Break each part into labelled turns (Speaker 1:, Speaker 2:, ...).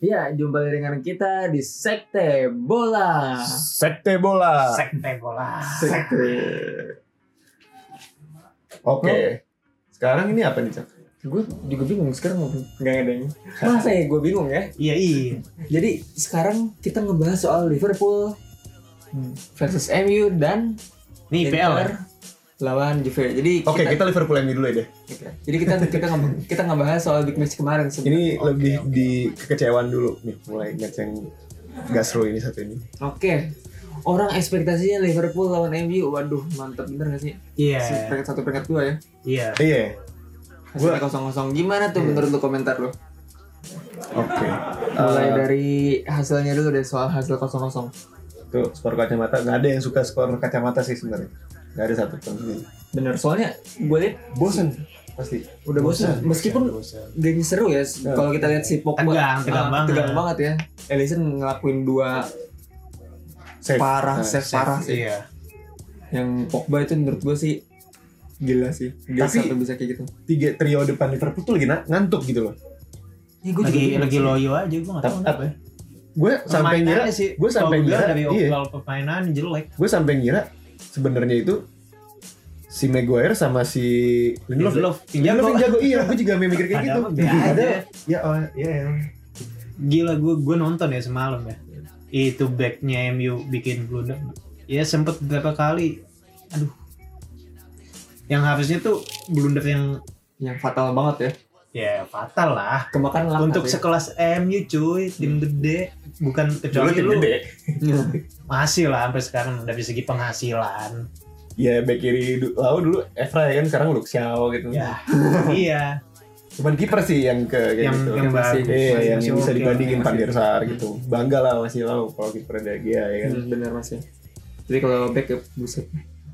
Speaker 1: Ya, jumpa lagi dengan kita di Sekte Bola.
Speaker 2: Sekte bola.
Speaker 3: Sekte bola.
Speaker 1: Sekte.
Speaker 2: Oke. Sekarang ini apa nih, Cak?
Speaker 1: Gue juga bingung sekarang mau nggak ada yang. Masa ya gue bingung ya.
Speaker 3: Iya iya.
Speaker 1: Jadi sekarang kita ngebahas soal Liverpool versus MU dan
Speaker 3: Ini IPL ya?
Speaker 1: Inter lawan Juve. Jadi
Speaker 2: Oke,
Speaker 1: kita,
Speaker 2: kita Liverpool MU dulu ya deh.
Speaker 1: jadi kita kita ngebahas, kita ngebahas soal big match kemarin sebenarnya.
Speaker 2: Ini lebih di kekecewaan dulu nih, mulai match yang gasro ini satu ini.
Speaker 1: Oke. Orang ekspektasinya Liverpool lawan MU. Waduh, mantap bener gak sih?
Speaker 2: Eh.
Speaker 3: Iya.
Speaker 1: Si Peringkat satu peringkat dua ya.
Speaker 3: Iya.
Speaker 2: Iya.
Speaker 1: Hasilnya
Speaker 2: Gua- Eh.
Speaker 1: kosong-kosong. Gimana tuh menurut lu komentar lu?
Speaker 2: Oke. Eh,
Speaker 1: Mulai dari hasilnya dulu deh soal hasil kosong-kosong.
Speaker 2: Tuh skor kacamata nggak ada yang suka skor kacamata sih sebenarnya. Nggak ada satu pun.
Speaker 1: Bener, soalnya gue lihat
Speaker 2: Bosen pasti.
Speaker 1: udah bosan. Meskipun game seru ya, kalau kita lihat si Pogba
Speaker 3: Tegang, tegang
Speaker 1: ah,
Speaker 3: banget.
Speaker 1: tegang banget ya. Ellison ngelakuin dua
Speaker 2: Safe.
Speaker 1: parah,
Speaker 2: Nah,
Speaker 1: save parah sih.
Speaker 3: Iya.
Speaker 1: Yang Pogba itu menurut gue sih gila sih. Gila
Speaker 2: Tapi-
Speaker 1: sampai bisa kayak gitu.
Speaker 2: Tiga trio depan Liverpool tuh lagi na- ngantuk gitu loh.
Speaker 1: Ya, gue
Speaker 3: Lagi lagi loyo aja gue nggak tahu
Speaker 2: Tapi-
Speaker 3: kenapa. ya.
Speaker 2: Gue sampai
Speaker 3: Permainannya
Speaker 2: ngira,
Speaker 3: sih.
Speaker 2: gue sampai
Speaker 3: kalau gua
Speaker 2: ngira,
Speaker 3: dari
Speaker 2: iya.
Speaker 3: overall permainan jelek.
Speaker 2: gue sampai ngira sebenarnya itu si Maguire sama si Lindelof
Speaker 3: Lindelof yang
Speaker 2: Yang
Speaker 3: jago.
Speaker 2: yang jago iya, gue juga mikir kayak
Speaker 3: Ada
Speaker 2: gitu.
Speaker 3: apa? Nggak ada.
Speaker 2: Ya, oh, iya, iya.
Speaker 3: Gila gue gue nonton ya semalam ya. Itu backnya MU bikin blunder. Ya sempet beberapa kali. Aduh. Yang harusnya tuh blunder yang
Speaker 1: Yang fatal banget ya.
Speaker 3: ya fatal lah.
Speaker 1: Kemakan lah.
Speaker 3: Untuk sekelas MU cuy, tim gede, bukan kecuali Iya, lu
Speaker 1: Iya,
Speaker 3: masih lah sampai sekarang udah di segi penghasilan.
Speaker 2: Ya back kiri du- Lau dulu Evra ya kan sekarang Luke Xiao gitu.
Speaker 3: Ya, iya.
Speaker 2: Cuman kiper sih yang ke kayak
Speaker 3: yang
Speaker 2: gitu.
Speaker 3: yang
Speaker 1: Masih-
Speaker 2: Iya,
Speaker 3: bagus. Masih-
Speaker 2: yang
Speaker 3: masih
Speaker 2: bisa
Speaker 3: oke Hmm.
Speaker 2: dibandingin
Speaker 3: lah.
Speaker 2: Van der Sar gitu. Bangga lah masih Lau kalau kiper ada dia ya kan.
Speaker 1: Hmm, bener mas ya. Jadi kalau back ya buset.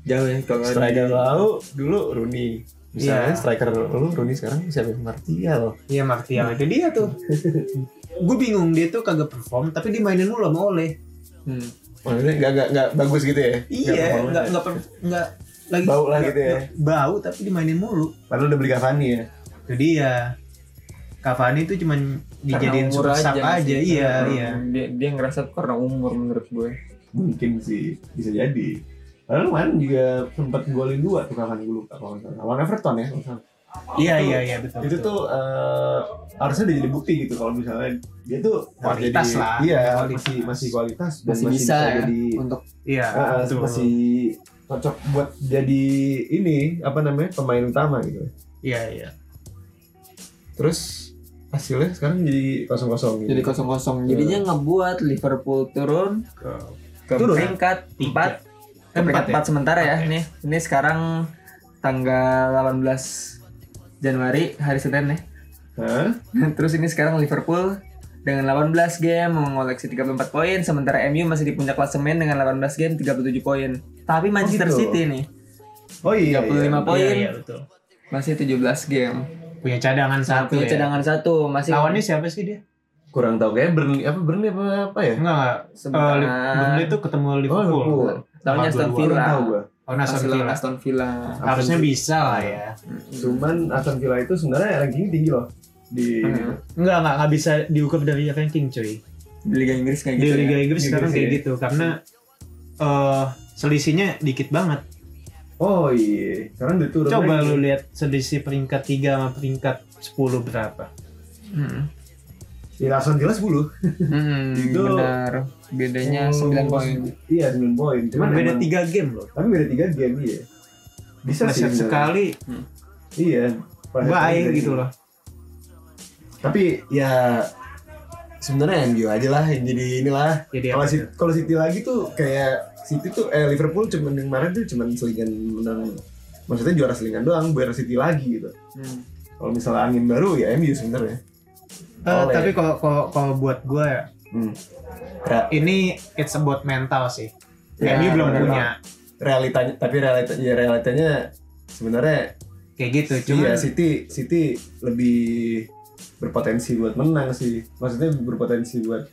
Speaker 1: Jauh ya kalau
Speaker 2: Striker Lau dulu Rooney. Misalnya
Speaker 3: Iya.
Speaker 2: striker lu Rooney sekarang siapa? Martial.
Speaker 3: Iya, Martial itu dia tuh. gue bingung dia tuh kagak perform tapi dimainin mulu sama Oleh.
Speaker 1: Hmm.
Speaker 2: Maksudnya nggak nggak nggak bagus gitu ya? Nggak
Speaker 3: Iya,
Speaker 2: perform.
Speaker 3: nggak nggak per- nggak lagi
Speaker 2: Bau lah
Speaker 3: nggak-
Speaker 2: gitu ya.
Speaker 3: nggak- Bau tapi dimainin mulu.
Speaker 2: Padahal udah beli Cavani ya.
Speaker 3: Itu dia. Cavani tuh cuman dijadiin
Speaker 1: umur
Speaker 3: super sub aja,
Speaker 1: sih.
Speaker 3: iya,
Speaker 1: Hmm,
Speaker 3: iya.
Speaker 2: gitu.
Speaker 1: Dia, dia ngerasa karena umur menurut gue.
Speaker 2: mungkin sih bisa jadi lalu kemarin juga sempat golin dua tuh kapan gue lupa kalau nggak salah lawan Everton ya kalau nggak salah.
Speaker 3: Iya, iya, iya, betul.
Speaker 2: itu
Speaker 3: betul.
Speaker 2: tuh eh, harusnya udah jadi bukti gitu kalau misalnya dia tuh harus
Speaker 3: Kualitas
Speaker 2: jadi-
Speaker 3: lah.
Speaker 2: iya
Speaker 3: Kualitas.
Speaker 2: masih masih kualitas dan
Speaker 1: Masih bisa ya.
Speaker 2: jadi
Speaker 1: Untuk
Speaker 3: iya,
Speaker 2: eh, eh,
Speaker 3: betul.
Speaker 2: masih cocok buat jadi ini apa namanya pemain utama gitu
Speaker 3: Iya, iya.
Speaker 2: terus hasilnya sekarang jadi kosong kosong gitu.
Speaker 1: jadi kosong-kosong. Jadinya ngebuat Liverpool turun
Speaker 2: Ke-
Speaker 1: ke
Speaker 2: Turun.
Speaker 1: peringkat
Speaker 3: Tiga.
Speaker 1: 4 ke
Speaker 3: Empat
Speaker 1: peringkat
Speaker 3: ya?
Speaker 1: 4 sementara ya.
Speaker 3: Empat ya.
Speaker 1: Nih, ini sekarang tanggal 18 Januari hari Senin nih.
Speaker 2: Hah?
Speaker 1: Terus ini sekarang Liverpool dengan 18 game mengoleksi 34 poin sementara MU masih di puncak klasemen dengan 18 game 37 poin.
Speaker 3: Oh,
Speaker 1: Tapi Manchester
Speaker 2: gitu.
Speaker 1: City nih
Speaker 2: oh iya,
Speaker 1: 35
Speaker 2: iya.
Speaker 1: poin
Speaker 3: Iya, iya, betul.
Speaker 1: masih 17 game.
Speaker 3: Punya cadangan satu
Speaker 1: Punya
Speaker 3: ya.
Speaker 1: cadangan satu masih
Speaker 3: Lawannya siapa sih dia?
Speaker 2: kurang tahu kayak Burnley apa Burnley apa apa ya Oh,
Speaker 3: Enggak,
Speaker 1: Sebentar.
Speaker 3: enggak. Burnley tuh ketemu Oh, Liverpool.
Speaker 2: Liverpool.
Speaker 1: lawannya
Speaker 3: Sama
Speaker 1: Aston
Speaker 3: dua-dua.
Speaker 2: kurang
Speaker 1: Villa.
Speaker 2: tahu gue
Speaker 3: Oh,
Speaker 1: Masih
Speaker 3: Aston
Speaker 1: lawan
Speaker 3: Villa.
Speaker 1: Aston Villa.
Speaker 3: Harusnya bisa lah ya.
Speaker 2: Cuman Aston Villa itu sebenarnya ranking tinggi loh di
Speaker 1: Hmm.
Speaker 3: Enggak, enggak, enggak bisa diukur dari ranking, cuy.
Speaker 1: Di Liga Inggris kayak
Speaker 3: Di
Speaker 1: gitu.
Speaker 3: Liga
Speaker 1: ya.
Speaker 3: Inggris
Speaker 2: Inggris
Speaker 3: sekarang kayak
Speaker 2: ya.
Speaker 3: gitu karena eh selisihnya dikit banget.
Speaker 2: Oh iya, sekarang udah turun.
Speaker 3: Coba
Speaker 2: lagi.
Speaker 3: lu lihat selisih peringkat 3 sama peringkat 10 berapa.
Speaker 1: Hmm.
Speaker 2: Di Aston Villa 10.
Speaker 1: Hmm,
Speaker 2: Itu-
Speaker 1: benar. Bedanya 9 poin.
Speaker 2: Oh, Iya, 9 poin. Cuman
Speaker 3: Cuman beda
Speaker 2: emang-
Speaker 3: 3 game loh.
Speaker 2: Tapi beda 3 game iya. Bisa sih.
Speaker 3: Bisa
Speaker 2: sebenarnya.
Speaker 3: sekali
Speaker 2: Iya. Pada
Speaker 3: bye
Speaker 2: saat
Speaker 3: gitu
Speaker 2: ini.
Speaker 3: loh.
Speaker 2: Tapi ya sebenarnya MU aja lah yang jadi inilah.
Speaker 3: Jadi
Speaker 2: Kalau
Speaker 3: apa
Speaker 2: City, kalau City lagi tuh kayak City tuh eh Liverpool cuman yang kemarin tuh cuman selingan menang. Maksudnya juara selingan doang, biar City lagi gitu.
Speaker 1: Hmm.
Speaker 2: Kalau misalnya angin baru ya MU sebenarnya.
Speaker 3: Eh,
Speaker 2: Oleh.
Speaker 3: tapi kalau kalau kalau buat gue
Speaker 2: Hmm. Ra-
Speaker 3: ini it's about mental sih.
Speaker 1: Ya,
Speaker 3: MU belum
Speaker 2: Iya, benar.
Speaker 3: punya
Speaker 2: realitanya tapi realitanya ya realitanya sebenarnya
Speaker 3: kayak gitu.
Speaker 2: iya
Speaker 3: Cuman
Speaker 2: City City lebih berpotensi buat menang sih maksudnya berpotensi buat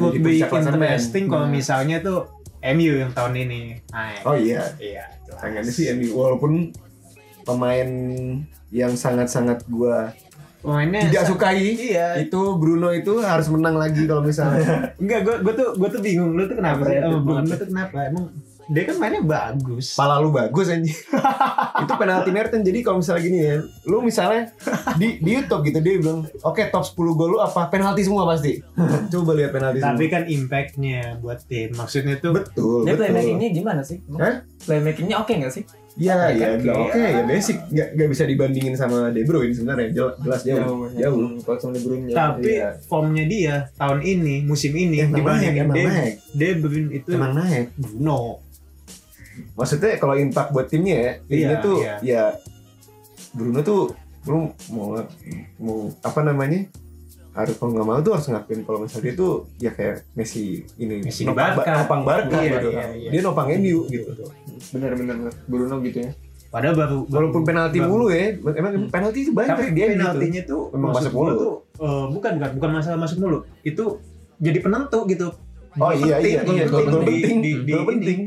Speaker 2: uh,
Speaker 3: would
Speaker 2: jadi
Speaker 3: be
Speaker 2: puncak klasemen.
Speaker 3: interesting kalau
Speaker 1: Hmm.
Speaker 3: misalnya tuh MU yang tahun ini. Nah,
Speaker 2: Oh iya,
Speaker 3: iya. jelas.
Speaker 2: tangannya sih MU walaupun pemain yang sangat-sangat gua
Speaker 3: Pemainnya
Speaker 2: tidak
Speaker 3: Eh, sa-
Speaker 2: sukai
Speaker 3: Iya.
Speaker 2: itu Bruno itu harus menang lagi kalau misalnya
Speaker 3: Enggak, gue gue tuh gue tuh bingung lu tuh kenapa
Speaker 2: ya,
Speaker 3: sih?
Speaker 1: Berat,
Speaker 3: Oh,
Speaker 1: berat.
Speaker 3: lu tuh kenapa? Emang dia kan mainnya bagus.
Speaker 2: pala lu bagus anjing itu penalti Merten jadi kalau misalnya gini ya lu misalnya di di YouTube gitu dia bilang oke top 10 gol lu apa penalti semua pasti coba lihat penalti
Speaker 3: Tapi
Speaker 2: semua
Speaker 3: kan impactnya buat tim maksudnya tuh
Speaker 2: betul
Speaker 1: Dia
Speaker 2: betul
Speaker 1: playmakingnya gimana sih? Emang
Speaker 2: Hah?
Speaker 1: Playmakingnya oke nggak sih?
Speaker 2: Ya, ya,
Speaker 1: Oke.
Speaker 2: udah oke, ya basic, nggak nggak bisa dibandingin sama De Bruyne sebenarnya, jelas, jelas jauh, jauh.
Speaker 1: Kalau sama De Bruyne jauh.
Speaker 3: tapi
Speaker 2: iya.
Speaker 3: formnya dia tahun ini musim ini
Speaker 2: Emang naik,
Speaker 3: dibandingin
Speaker 2: emang
Speaker 3: dia
Speaker 2: naik,
Speaker 3: dia Bruyne itu
Speaker 2: emang naik.
Speaker 3: Bruno.
Speaker 2: Maksudnya kalau impact buat timnya ya, timnya
Speaker 3: Iya,
Speaker 2: tuh,
Speaker 3: iya.
Speaker 2: ya Bruno tuh, lu mau mau apa namanya? Harus kalau nggak mau tuh harus ngapain kalau misalnya dia tuh ya kayak Messi ini
Speaker 3: Messi di
Speaker 2: nopang,
Speaker 3: Barca.
Speaker 2: nopang Barca
Speaker 3: Iya,
Speaker 2: gitu.
Speaker 3: iya, iya.
Speaker 2: Dia nopang MU gitu.
Speaker 1: Bener bener bener. Bruno gitu ya.
Speaker 3: Padahal baru
Speaker 2: Walaupun penalti
Speaker 3: baru-
Speaker 2: mulu ya, emang penalti itu banyak
Speaker 3: Hmm. tapi
Speaker 2: dia gitu.
Speaker 3: penaltinya tuh
Speaker 2: Emang
Speaker 3: maksud
Speaker 2: masuk mulu.
Speaker 3: gua tuh eh, bukan bukan bukan masalah masuk mulu itu jadi penentu gitu
Speaker 2: Oh iya iya
Speaker 3: Penting,
Speaker 2: iya gol
Speaker 3: penting,
Speaker 2: gol penting,
Speaker 3: di- di-
Speaker 2: gol
Speaker 3: di-
Speaker 2: penting.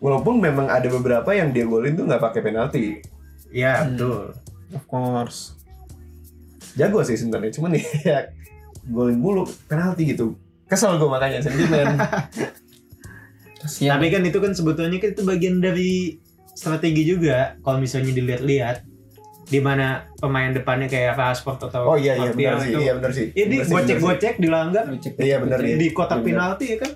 Speaker 2: Walaupun memang ada beberapa yang dia golin tuh nggak pakai penalti.
Speaker 3: ya betul of course
Speaker 2: Jago sih sebenarnya, cuman ya golin mulu penalti gitu. Kesel gue makanya sentimen.
Speaker 1: Kasihan.
Speaker 3: tapi kan itu kan sebetulnya kan itu bagian dari strategi juga kalau misalnya dilihat-lihat di mana pemain depannya kayak Rashford atau
Speaker 2: oh iya iya
Speaker 3: Martial
Speaker 2: benar sih,
Speaker 3: itu
Speaker 2: iya benar sih.
Speaker 3: ini
Speaker 2: Benar sih, benar sih.
Speaker 3: gocek-gocek dilanggar
Speaker 1: Lucu.
Speaker 2: Iya benar nih.
Speaker 3: di kotak
Speaker 2: Benar.
Speaker 3: penalti ya kan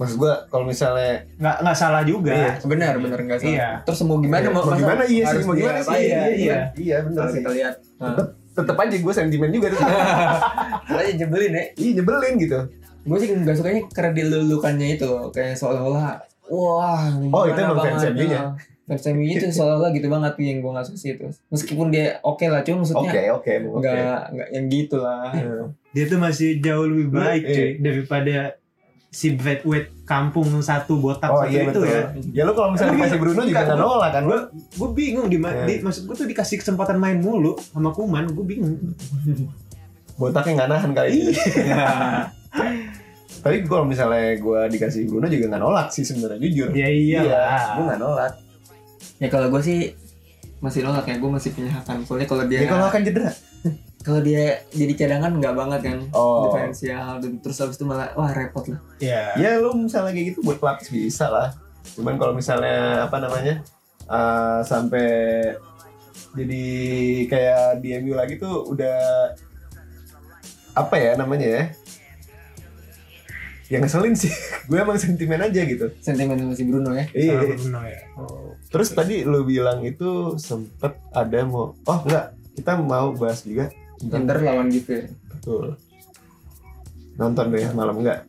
Speaker 2: Maksud gue kalau misalnya
Speaker 3: nggak nggak salah juga
Speaker 2: Iya.
Speaker 1: Benar benar nggak salah.
Speaker 3: Iya.
Speaker 1: Terus mau gimana?
Speaker 2: mau
Speaker 1: masa
Speaker 2: gimana iya sih,
Speaker 1: harus
Speaker 2: mau gimana sih?
Speaker 1: diapain,
Speaker 3: iya,
Speaker 1: gitu
Speaker 3: iya.
Speaker 1: kan?
Speaker 2: iya benar
Speaker 1: Kalau
Speaker 2: sih.
Speaker 1: kita lihat. Nah,
Speaker 2: Tetep, tetep aja gue sentimen juga tetep.
Speaker 1: aja nyebelin ya.
Speaker 2: Ih nyebelin gitu.
Speaker 1: Gue sih nggak sukanya karena dilulukannya itu kayak seolah-olah wah.
Speaker 2: Oh, itu
Speaker 1: gimana
Speaker 2: emang fans
Speaker 1: banget,
Speaker 2: MU-nya.
Speaker 1: nah. Fans MU itu seolah-olah gitu banget yang gue nggak suka sih itu. Meskipun dia oke lah, cuma maksudnya
Speaker 2: Oke oke emang oke. Iya.
Speaker 1: nggak nggak yang gitu lah.
Speaker 3: dia tuh masih jauh lebih
Speaker 2: Lu-
Speaker 3: baik
Speaker 2: iya.
Speaker 3: cuy daripada si Bradway kampung satu botak
Speaker 2: Oh
Speaker 3: satu
Speaker 2: iya
Speaker 3: itu
Speaker 2: betul.
Speaker 3: ya
Speaker 2: Ya lu kalau misalnya
Speaker 3: Tapi-
Speaker 2: dikasih Bruno juga
Speaker 3: Bukan,
Speaker 2: nggak
Speaker 3: gua-
Speaker 2: nolak kan lu?
Speaker 3: gue bingung di, ma-
Speaker 2: Iya.
Speaker 3: di- maksud gue tuh dikasih kesempatan main mulu sama Kuman gue bingung
Speaker 2: botaknya nggak nahan kali ini. Tapi kalau misalnya gue dikasih Bruno juga nggak nolak sih sebenarnya jujur.
Speaker 3: ya iyalah
Speaker 2: gue nggak nolak.
Speaker 1: ya kalau gue sih masih nolak ya gue masih punya hakan soalnya kalau dia
Speaker 2: Ya kalau akan cedera.
Speaker 1: kalau dia jadi cadangan nggak banget kan
Speaker 2: Oh.
Speaker 1: diferensial dan terus abis itu malah wah repot lah
Speaker 3: ya
Speaker 2: Ya lu misalnya kayak gitu buat pelapis bisa lah. Cuman kalau misalnya apa namanya eh, sampai jadi kayak di MU lagi tuh udah apa ya namanya ya? Yang ngeselin sih, gue emang sentimen aja gitu.
Speaker 1: sentimen sama si Bruno ya
Speaker 3: Sama
Speaker 2: Iya.
Speaker 3: Bruno ya.
Speaker 2: Terus tadi lu bilang itu sempet ada mau oh enggak kita mau bahas juga tentang
Speaker 1: Inter lawan gitu ya.
Speaker 2: betul nonton deh malam enggak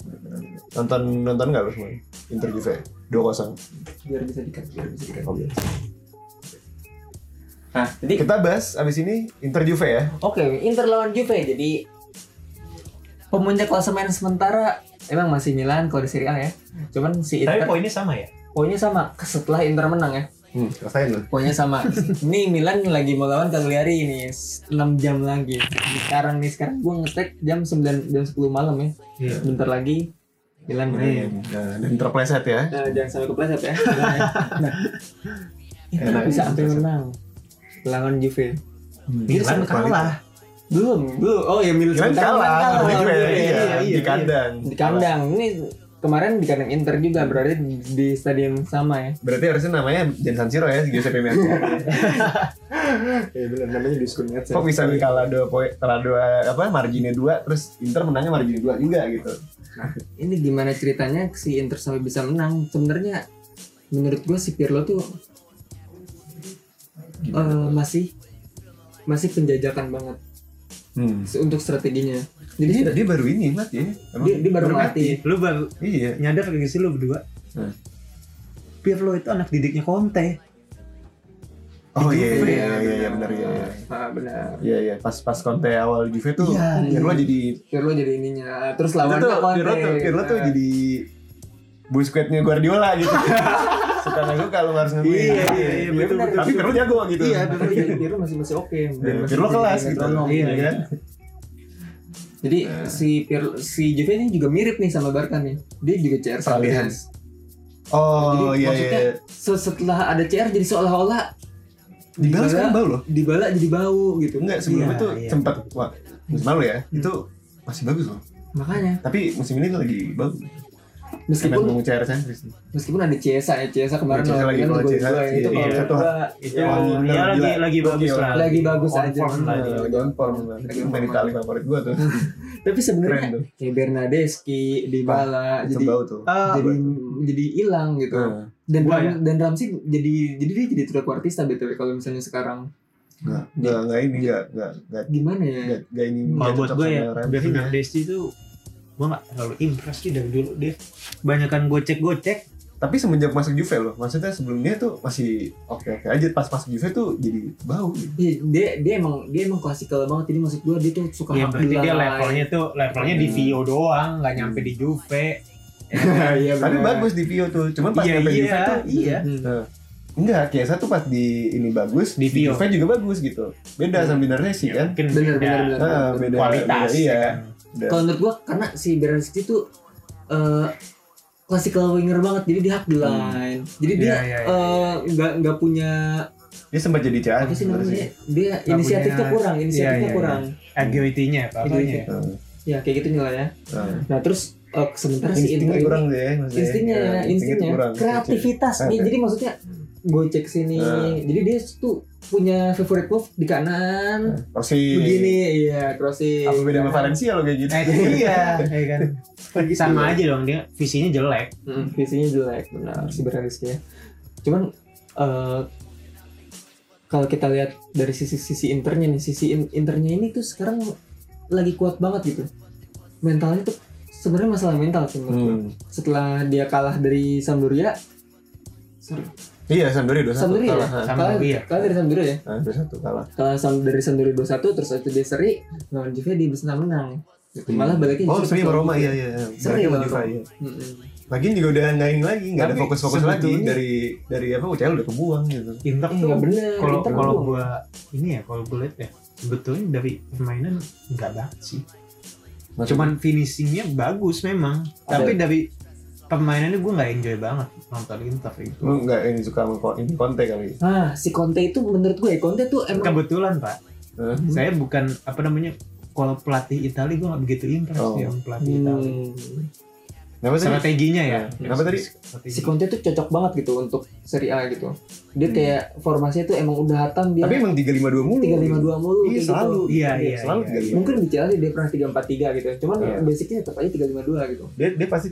Speaker 2: nonton nonton enggak lu semua Inter Juve dua kosong
Speaker 1: biar bisa dikat biar bisa dikat nah jadi
Speaker 2: kita bahas abis ini Inter Juve ya
Speaker 1: oke Inter lawan Juve jadi pemuncak klasemen sementara emang masih Milan kalau di Serie A ya cuman si
Speaker 3: tapi
Speaker 1: Inter
Speaker 3: poinnya sama ya
Speaker 1: poinnya sama setelah Inter menang ya
Speaker 2: hmm, rasain lu
Speaker 1: Pokoknya sama. Nih Milan lagi mau lawan Cagliari ini 6 jam lagi. Sekarang nih sekarang gua ngetek jam 9 jam 10 malam ya.
Speaker 3: Iya.
Speaker 1: Bentar lagi Milan main.
Speaker 2: Nah, dan terpleset ya
Speaker 1: Nah, jangan sampai kepleset ya. nah. Itu
Speaker 2: Enak.
Speaker 1: bisa sampai menang. Lawan Juve.
Speaker 2: Milan
Speaker 3: Milan Iya, kalah
Speaker 1: Belum, belum. Oh ya Milan
Speaker 2: Milan
Speaker 1: sementara
Speaker 2: kalah
Speaker 1: Milan
Speaker 2: sama Juve
Speaker 1: lawan Juve.
Speaker 2: iya,
Speaker 3: iya, iya.
Speaker 2: di kandang
Speaker 1: Di kandang. Ini kemarin di kandang Inter juga berarti di stadion sama ya.
Speaker 2: berarti harusnya namanya Jansan Siro ya Giuseppe Meazza ya benar namanya diskon Meazza kok bisa kalah dua poin kalah dua apa marginnya dua terus Inter menangnya marginnya dua juga gitu
Speaker 1: ini gimana ceritanya si Inter sampai bisa menang sebenarnya menurut gue si Pirlo tuh eh, masih masih penjajakan banget
Speaker 2: hmm.
Speaker 1: se- untuk strateginya jadi
Speaker 2: Dia,
Speaker 1: dia,
Speaker 2: dia baru ini mati ya? Emang?
Speaker 1: dia, baru mati
Speaker 3: lu baru
Speaker 2: Iya.
Speaker 3: nyadar gak sih lu berdua
Speaker 2: Hmm.
Speaker 3: Pirlo itu anak didiknya Conte
Speaker 2: Oh iya iya iya iya, iya benar iya. iya.
Speaker 1: ah, benar
Speaker 2: Iya iya pas pas Conte awal Juve tuh
Speaker 3: Iya,
Speaker 1: iya.
Speaker 2: Pirlo jadi
Speaker 1: Pirlo jadi ininya terus
Speaker 2: itu
Speaker 1: lawannya
Speaker 2: tuh
Speaker 1: Conte
Speaker 2: Pirlo tuh Pirlo tuh
Speaker 1: Nah,
Speaker 2: jadi busquetnya Guardiola gitu. suka nggak suka lu harus ngakuin.
Speaker 3: Iya, iya, iya, betul,
Speaker 1: betul,
Speaker 2: Tapi
Speaker 1: betul.
Speaker 2: Pirlo jago gitu.
Speaker 1: iya Pirlo jadi Pirlo masih masih oke dan
Speaker 2: Eh,
Speaker 1: masih
Speaker 2: Pirlo
Speaker 1: jadi
Speaker 2: kelas gitu.
Speaker 1: metronom,
Speaker 2: Iya
Speaker 1: gitu.
Speaker 2: kan? Iya.
Speaker 1: jadi si Pirlo si Juve ini juga mirip nih sama Barca nih dia juga CR
Speaker 2: Peralihan.
Speaker 1: Sanchez
Speaker 2: Oh
Speaker 1: Jadi
Speaker 2: iya iya.
Speaker 1: maksudnya se- setelah ada CR jadi seolah-olah
Speaker 2: Dibala sekarang bau loh.
Speaker 1: Dybala jadi bau gitu.
Speaker 2: Enggak sebelumnya
Speaker 3: Iya,
Speaker 2: tuh
Speaker 3: iya.
Speaker 2: sempat wah, musim lalu ya
Speaker 1: Hmm.
Speaker 2: itu masih bagus loh.
Speaker 1: Makanya
Speaker 2: Tapi musim ini lagi bagus. Karena
Speaker 1: meskipun
Speaker 2: mau CR sentris.
Speaker 1: meskipun ada Ciesa ya Ciesa kemarin
Speaker 2: Ciesa Iya, lagi,
Speaker 1: lawan
Speaker 2: kalau
Speaker 1: Milan,
Speaker 2: Ciesa,
Speaker 1: gol dua,
Speaker 2: iya,
Speaker 1: itu
Speaker 2: iya.
Speaker 1: kalau
Speaker 2: Satu
Speaker 1: gua-
Speaker 3: itu
Speaker 1: ya,
Speaker 2: Wah, gila,
Speaker 3: ya lagi
Speaker 2: gila.
Speaker 3: lagi bagus Eh,
Speaker 2: Gokil.
Speaker 3: lah
Speaker 1: Lagi bagus
Speaker 3: On
Speaker 1: aja.
Speaker 3: form lah dia.
Speaker 2: Lagi on form banget. Itu main Itali favorit gua tuh.
Speaker 1: tapi
Speaker 2: Keren
Speaker 1: sebenarnya
Speaker 2: tuh.
Speaker 1: kayak Bernadeschi Dybala
Speaker 2: Itu
Speaker 1: jadi
Speaker 2: bau tuh.
Speaker 3: Ah,
Speaker 1: jadi jadi hilang gitu.
Speaker 2: Nah,
Speaker 1: Dan
Speaker 3: Gua
Speaker 1: Ram-
Speaker 3: ya?
Speaker 1: dan Ramsey jadi jadi dia jadi tidak kuartista BTW kalau misalnya sekarang
Speaker 2: Enggak, enggak, enggak ini, enggak, enggak, enggak,
Speaker 1: gimana ya?
Speaker 2: enggak, enggak ini.
Speaker 3: kalau
Speaker 2: enggak
Speaker 3: buat
Speaker 2: cocok
Speaker 3: gue ya
Speaker 2: sama Ramsey-nya.
Speaker 3: Bevin Desti itu gue gak terlalu impress sih dari dulu dia banyakan gocek-gocek
Speaker 2: Tapi semenjak masuk Juve loh, maksudnya sebelumnya tuh masih oke-oke aja. Pas masuk Juve tuh jadi bau. gitu.
Speaker 1: Iya, dia dia emang dia emang klasikal banget ini maksud gua dia tuh suka
Speaker 3: ya
Speaker 1: hak
Speaker 3: berarti dia
Speaker 1: belai.
Speaker 3: levelnya tuh levelnya di
Speaker 2: Hmm.
Speaker 3: Vio doang nggak nyampe di Juve
Speaker 1: Iya,
Speaker 2: Tapi
Speaker 1: bener.
Speaker 2: bagus di Pio tuh, cuman pas
Speaker 3: Iya,
Speaker 2: nyampe
Speaker 3: iya.
Speaker 2: Juve tuh iya.
Speaker 1: Hmm.
Speaker 2: Nah, Enggak, Kiesa tuh pas di ini bagus, di,
Speaker 3: Di Pio.
Speaker 2: Juve juga bagus gitu.
Speaker 1: Hmm.
Speaker 2: Beda sama Bernadeschi kan.
Speaker 3: Ya, mungkin
Speaker 1: Bener,
Speaker 3: beda
Speaker 1: bener, bener.
Speaker 2: Nah, beda
Speaker 3: kualitas
Speaker 2: beda, iya.
Speaker 3: ya kan.
Speaker 2: Beda.
Speaker 1: Kalau menurut gua karena si Bernadeschi tuh eh classical winger banget jadi dia hak belai. Jadi dia
Speaker 3: Iya, iya, iya,
Speaker 1: eh, nggak nggak punya
Speaker 2: Dia sempat jadi CA.
Speaker 1: apa Ah, sih
Speaker 2: sebenarnya.
Speaker 1: namanya? Dia inisiatifnya
Speaker 3: punya-
Speaker 1: kurang,
Speaker 3: iya,
Speaker 1: inisiatifnya
Speaker 3: iya.
Speaker 1: kurang.
Speaker 3: agility-nya apa
Speaker 1: Agility.
Speaker 3: apanya
Speaker 2: Nah,
Speaker 1: Ya kayak gitu nilai ya.
Speaker 2: nah.
Speaker 1: Nah, terus eh, sementara si Inter
Speaker 2: Instingnya
Speaker 1: ini-
Speaker 2: kurang deh, maksudnya.
Speaker 1: instingnya
Speaker 2: Nah,
Speaker 1: ya,
Speaker 2: instingnya tuh
Speaker 1: instingnya
Speaker 2: kurang. Iya.
Speaker 1: kreativitas nih
Speaker 2: Oke.
Speaker 1: jadi maksudnya gocek sini
Speaker 2: Nah.
Speaker 1: jadi dia tuh punya favorite move di kanan
Speaker 2: Persi.
Speaker 1: begini iya Eh, crossing
Speaker 2: Nah. Apa beda sama Valencia lo kayak gitu?
Speaker 3: Nah, itu dia, ya kan. Sama aja dong dia visinya jelek.
Speaker 1: Mm, visinya jelek benar si Bernadeschi ya cuman eh, kalau kita lihat dari sisi sisi internya nih sisi in- internya ini tuh sekarang lagi kuat banget gitu mentalnya tuh sebenarnya masalah mental sih menurut gue.
Speaker 2: Hmm.
Speaker 1: setelah dia kalah dari Sampdoria sorry,
Speaker 2: Iya, Sampdoria 2-1
Speaker 1: Sampdoria ya?
Speaker 2: kalah.
Speaker 3: Sampdoria.
Speaker 1: Kalah- kalah dari Sampdoria ya
Speaker 2: Ah, 2-1 kalah.
Speaker 1: Kalau sam dari Sampdoria 21 terus itu dia seri lawan Juve dia bisa menang. Gitu. Malah baliknya
Speaker 2: Oh,
Speaker 1: justru
Speaker 2: seri
Speaker 1: lawan
Speaker 2: sama Roma
Speaker 1: Juve.
Speaker 2: iya iya. iya.
Speaker 1: Seri
Speaker 2: Baliknya sama
Speaker 1: lawan
Speaker 2: Juve,
Speaker 1: Roma.
Speaker 2: iya.
Speaker 1: Mm-mm.
Speaker 2: Lagian juga udah nggak ini lagi, nggak ada
Speaker 1: Tapi
Speaker 2: fokus-fokus lagi
Speaker 1: sebetulnya-
Speaker 2: dari dari apa UCL udah kebuang gitu.
Speaker 3: Inter
Speaker 1: Eh,
Speaker 3: tuh
Speaker 1: nggak bener.
Speaker 3: kalau
Speaker 1: Inter
Speaker 3: kalau
Speaker 1: doang.
Speaker 3: gua ini ya kalau gua lihat ya sebetulnya dari permainan nggak banget sih.
Speaker 2: Nah,
Speaker 3: Cuman finishingnya bagus memang,
Speaker 1: Ada.
Speaker 3: tapi dari permainannya gua nggak enjoy banget nonton Inter itu.
Speaker 2: lu nggak ini suka sama ko- ini konten kali.
Speaker 1: ah si Conte itu menurut gue ya, Conte tuh emang
Speaker 3: Kebetulan Pak,
Speaker 2: Hah?
Speaker 1: Hmm.
Speaker 3: saya bukan apa namanya kalau pelatih Itali gua nggak begitu impress
Speaker 2: Oh.
Speaker 3: ya sama pelatih Itali.
Speaker 1: Hmm.
Speaker 2: Kenapa tadi?
Speaker 3: Strateginya ya.
Speaker 2: Nah, apa tadi?
Speaker 1: si
Speaker 3: Strategi.
Speaker 1: Conte tuh cocok banget gitu untuk seri A gitu. Dia
Speaker 2: Hmm.
Speaker 1: kayak formasinya tuh emang udah hatam dia
Speaker 2: Tapi emang 352 mulu.
Speaker 1: 352 mulu
Speaker 2: Iya,
Speaker 1: kayak
Speaker 2: selalu.
Speaker 1: gitu.
Speaker 3: Iya,
Speaker 2: Iya,
Speaker 3: iya.
Speaker 2: selalu
Speaker 3: iya,
Speaker 2: tiga
Speaker 3: iya.
Speaker 2: lima.
Speaker 1: Mungkin di Chelsea dia pernah 343 gitu. Cuman
Speaker 2: Iya.
Speaker 1: basicnya tetap aja 352 gitu.
Speaker 2: Dia dia pasti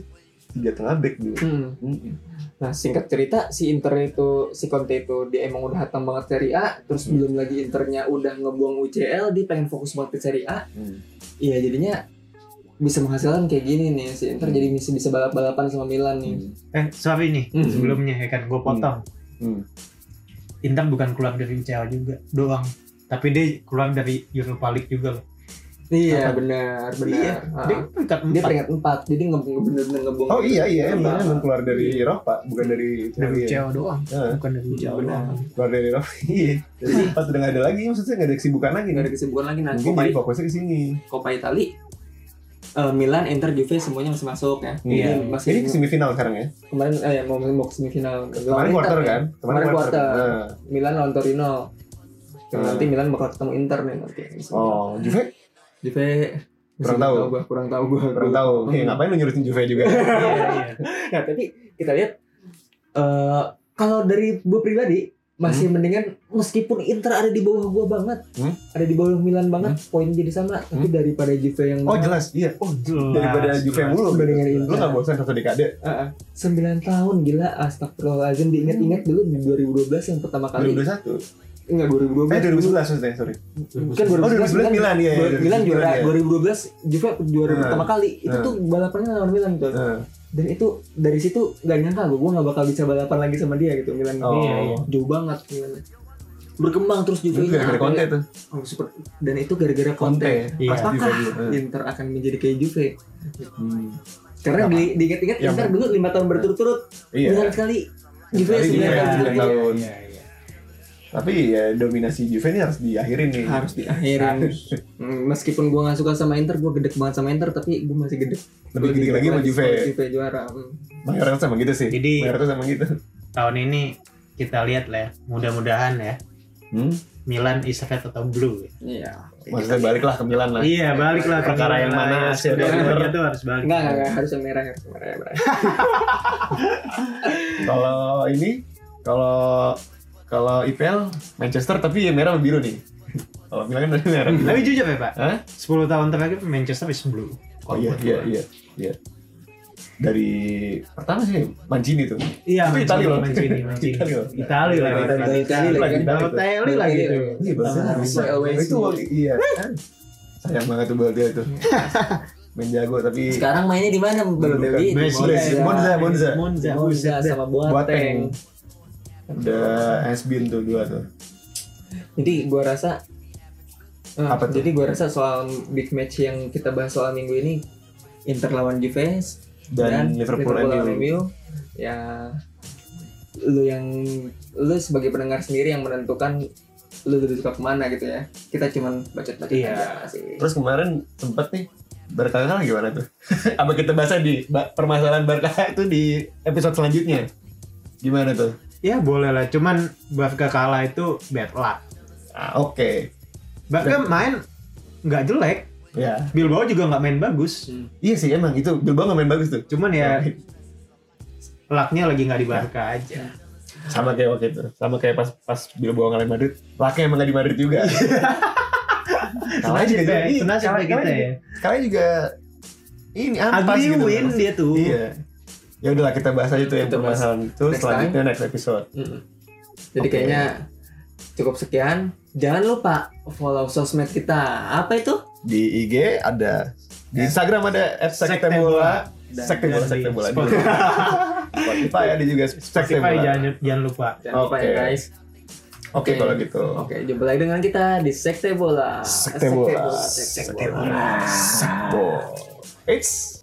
Speaker 2: tiga tengah back dulu.
Speaker 1: Hmm.
Speaker 2: Mm-mm.
Speaker 1: Nah singkat cerita si Inter itu si Conte itu dia emang udah hatam banget Serie A terus
Speaker 2: Hmm.
Speaker 1: belum lagi Internya udah ngebuang UCL dia pengen fokus banget ke Serie A
Speaker 2: Hmm.
Speaker 1: iya jadinya bisa menghasilkan kayak gini nih si Inter
Speaker 2: Hmm.
Speaker 1: jadi bisa bisa balap balapan sama Milan nih
Speaker 3: Eh, sorry nih,
Speaker 1: Hmm.
Speaker 3: sebelumnya ya kan gue potong.
Speaker 2: Hmm.
Speaker 3: Inter bukan keluar dari UCL juga doang, tapi dia keluar dari Europa League juga loh.
Speaker 1: iya
Speaker 3: Apa?
Speaker 1: benar benar
Speaker 3: Iya,
Speaker 1: Ah.
Speaker 3: Dia peringkat
Speaker 1: dia
Speaker 3: empat.
Speaker 1: peringkat empat jadi nge nge bener bener ngebuang
Speaker 2: Oh iya iya
Speaker 1: Iya.
Speaker 2: emang emang keluar dari Eropa bukan dari
Speaker 3: dari
Speaker 2: Italia.
Speaker 3: UCL doang,
Speaker 2: Heeh.
Speaker 3: bukan dari UCL
Speaker 1: Benar.
Speaker 3: doang.
Speaker 2: Keluar dari Eropa. Iya. Jadi pas udah nggak ada lagi maksudnya nggak ada kesibukan lagi.
Speaker 1: nggak ada kesibukan lagi nah
Speaker 2: Mungkin
Speaker 1: Copa,
Speaker 2: jadi fokusnya ke sini.
Speaker 1: Copa Itali eh, Milan, Inter, Juve semuanya masih masuk ya.
Speaker 2: Iya.
Speaker 1: Jadi masih
Speaker 2: Ini ke semifinal sekarang ya.
Speaker 1: kemarin eh mau mau ke semifinal. Lawan
Speaker 2: Kemarin
Speaker 1: Inter,
Speaker 2: quarter
Speaker 1: ya.
Speaker 2: kan?
Speaker 1: Kemarin quarter.
Speaker 2: Nah.
Speaker 1: Milan lawan Torino. Dan
Speaker 2: Hmm.
Speaker 1: Nanti Milan bakal ketemu Inter nih nanti.
Speaker 2: Oh, Juve
Speaker 1: Juve masih
Speaker 2: Kurang tahu.
Speaker 1: nggak gua, kurang tahu gua.
Speaker 2: kurang tahu. Oke, ngapain lu nyurutin Juve juga?
Speaker 3: Iya, iya.
Speaker 1: Nah, tapi kita lihat eh kalau dari gue pribadi masih mendingan meskipun Inter ada di bawah gua banget,
Speaker 2: Hmm?
Speaker 1: ada di bawah Milan banget, poin jadi sama, tapi daripada Juve yang
Speaker 2: Oh,
Speaker 1: menang,
Speaker 2: jelas. Iya.
Speaker 3: Oh jelas.
Speaker 2: Daripada Juve
Speaker 3: jelas.
Speaker 2: mulu
Speaker 1: Dibandingin
Speaker 2: gitu. Lu
Speaker 1: Inter.
Speaker 2: nggak bosan satu dekade?
Speaker 1: Ah, ah. 9 tahun gila astagfirullahalazim diingat-ingat dulu di 2012 yang pertama kali
Speaker 2: 2021.
Speaker 1: enggak 2012
Speaker 2: Eh 2011 maksudnya, sorry.
Speaker 1: kan
Speaker 2: Oh,
Speaker 1: 2011
Speaker 2: 2011 Milan iya. iya,
Speaker 1: Milan
Speaker 2: 2011,
Speaker 1: juara
Speaker 2: iya.
Speaker 1: 2012 Juve juara
Speaker 2: Hmm.
Speaker 1: pertama kali itu
Speaker 2: Hmm.
Speaker 1: tuh balapannya lawan Milan tuh
Speaker 2: Heeh.
Speaker 1: dan itu dari situ gak nyangka gue gue gak bakal bisa balapan lagi sama dia gitu Milan
Speaker 2: Oh.
Speaker 1: Iya, iya. jauh banget Milan berkembang terus
Speaker 2: Itu
Speaker 1: Juve ini
Speaker 2: gara-gara Conte tuh.
Speaker 1: Oh, super. dan itu gara-gara
Speaker 2: iya. Conte.
Speaker 1: Conte
Speaker 3: Iya.
Speaker 2: Pas Juve eh. dulu. Heeh.
Speaker 1: Inter akan menjadi kayak Juve
Speaker 2: Hmm.
Speaker 1: karena
Speaker 2: Kenapa?
Speaker 1: di, diingat-ingat
Speaker 2: Yang-
Speaker 1: Inter dulu lima tahun berturut-turut
Speaker 2: Iya.
Speaker 1: Milan sekali Juve
Speaker 2: Sekali,
Speaker 1: sembilan
Speaker 2: iya.
Speaker 1: tahun
Speaker 2: Sembilan
Speaker 1: berturut-turut
Speaker 2: tahun.
Speaker 3: Iya, iya.
Speaker 2: Tapi ya dominasi Juve ini harus diakhirin nih.
Speaker 1: Iya, harus diakhirin Mm, meskipun gue nggak suka sama Inter gue gedek banget sama Inter tapi gue masih gedek
Speaker 2: Lebih
Speaker 1: Gua
Speaker 2: gede lagi sama Juve.
Speaker 1: sama Juve juara Mm.
Speaker 2: Mayoritas sama gitu sih.
Speaker 3: Jadi-
Speaker 2: mayoritas sama gitu.
Speaker 3: tahun ini kita lihat lah ya, mudah-mudahan ya
Speaker 2: Hmm?
Speaker 3: Milan is red atau blue ya.
Speaker 1: iya
Speaker 2: Maksudnya baliklah ke Milan lah.
Speaker 3: Iya baliklah ke
Speaker 2: Perkara yang mana hasil
Speaker 3: dari
Speaker 2: dari
Speaker 3: Milan itu harus balik
Speaker 1: enggak enggak enggak harus yang merah harus yang merah, ya, merah.
Speaker 2: Kalau ini kalau kalau IPL Manchester tapi ya merah sama biru nih. Kalau Milan kan dari merah. biru.
Speaker 3: tapi jujur ya pak
Speaker 2: Hah?
Speaker 3: 10 tahun terakhir Manchester is blue
Speaker 2: Oh iya
Speaker 3: Kalau
Speaker 2: iya
Speaker 3: buat gua.
Speaker 2: iya iya. Dari pertama sih Mancini tuh.
Speaker 3: iya
Speaker 2: Itu Itali loh.
Speaker 3: Mancini Mancini
Speaker 2: Itali loh.
Speaker 3: Itali lah gitu.
Speaker 2: Itali,
Speaker 3: Itali.
Speaker 1: Itali lagi kan.
Speaker 3: Balotelli lagi
Speaker 1: Balotelli
Speaker 3: tuh
Speaker 2: Iya, Balderas.
Speaker 1: Always my always
Speaker 2: Itu iya. kan? Sayang banget tuh Balderas tuh. Main jago tapi
Speaker 1: sekarang mainnya di mana Balotelli
Speaker 2: Bukan.
Speaker 1: Di
Speaker 2: Messi, Messi. Monza, Monza.
Speaker 3: Monza
Speaker 1: ya? Monza
Speaker 3: Monza
Speaker 1: sama Boateng
Speaker 2: Udah has been tuh dua tuh.
Speaker 1: jadi gue rasa eh,
Speaker 2: Apa tuh?
Speaker 1: jadi gue rasa soal big match yang kita bahas soal minggu ini Inter lawan Juve
Speaker 2: Dan, Liverpool,
Speaker 1: lawan
Speaker 2: Liverpool MU.
Speaker 1: MU. ya lu yang lu sebagai pendengar sendiri yang menentukan lu lebih suka kemana gitu ya kita cuman bacot-bacot
Speaker 3: Iya.
Speaker 1: aja sih
Speaker 2: Terus kemarin sempet nih berkali-kali gimana tuh? Apa kita bahas di ba- permasalahan Barca itu di episode selanjutnya? Gimana tuh?
Speaker 3: ya boleh lah cuman Barca kalah itu bad luck
Speaker 2: Ah, Oke,
Speaker 3: Barca main nggak jelek
Speaker 2: ya.
Speaker 3: Bilbao juga nggak main bagus
Speaker 1: Hmm.
Speaker 2: Iya sih emang itu Bilbao nggak main bagus tuh.
Speaker 3: cuman ya lucknya lagi nggak di Barca aja
Speaker 2: Sama kayak waktu itu, sama kayak pas pas Bilbao ngalahin Madrid. Laknya emang nggak di Madrid juga. kalah
Speaker 3: Senasib
Speaker 2: juga,
Speaker 3: ya,
Speaker 2: iya, kalah-
Speaker 3: senasib ya
Speaker 2: kalah
Speaker 3: kita
Speaker 2: juga-
Speaker 3: ya.
Speaker 2: Kalah juga ini ampas
Speaker 3: Ugly
Speaker 2: gitu. loh.
Speaker 3: win dia tuh
Speaker 2: Iya. Ya udahlah kita bahas aja tuh yang
Speaker 1: Kita bahas
Speaker 2: permasalahan itu
Speaker 1: next
Speaker 2: selanjutnya next episode.
Speaker 1: Mm-mm. Jadi
Speaker 2: Oke.
Speaker 1: kayaknya cukup sekian. Jangan lupa follow sosmed kita. Apa itu?
Speaker 2: di IG ada di Instagram ada @sektebola
Speaker 1: Dan-
Speaker 2: sekte bola sekte bola
Speaker 3: Dan di
Speaker 2: Di- Spotify ada juga sekte
Speaker 3: Spotify
Speaker 2: bola
Speaker 3: jangan jangan lupa
Speaker 1: Jangan lupa ya
Speaker 2: Oke.
Speaker 1: guys.
Speaker 2: oke kalau gitu
Speaker 1: Oke, jumpa lagi dengan kita di Sekte Bola.
Speaker 2: sekte bola
Speaker 1: Sekte
Speaker 2: sekte
Speaker 1: Bola.
Speaker 2: bola Sekte bola. it's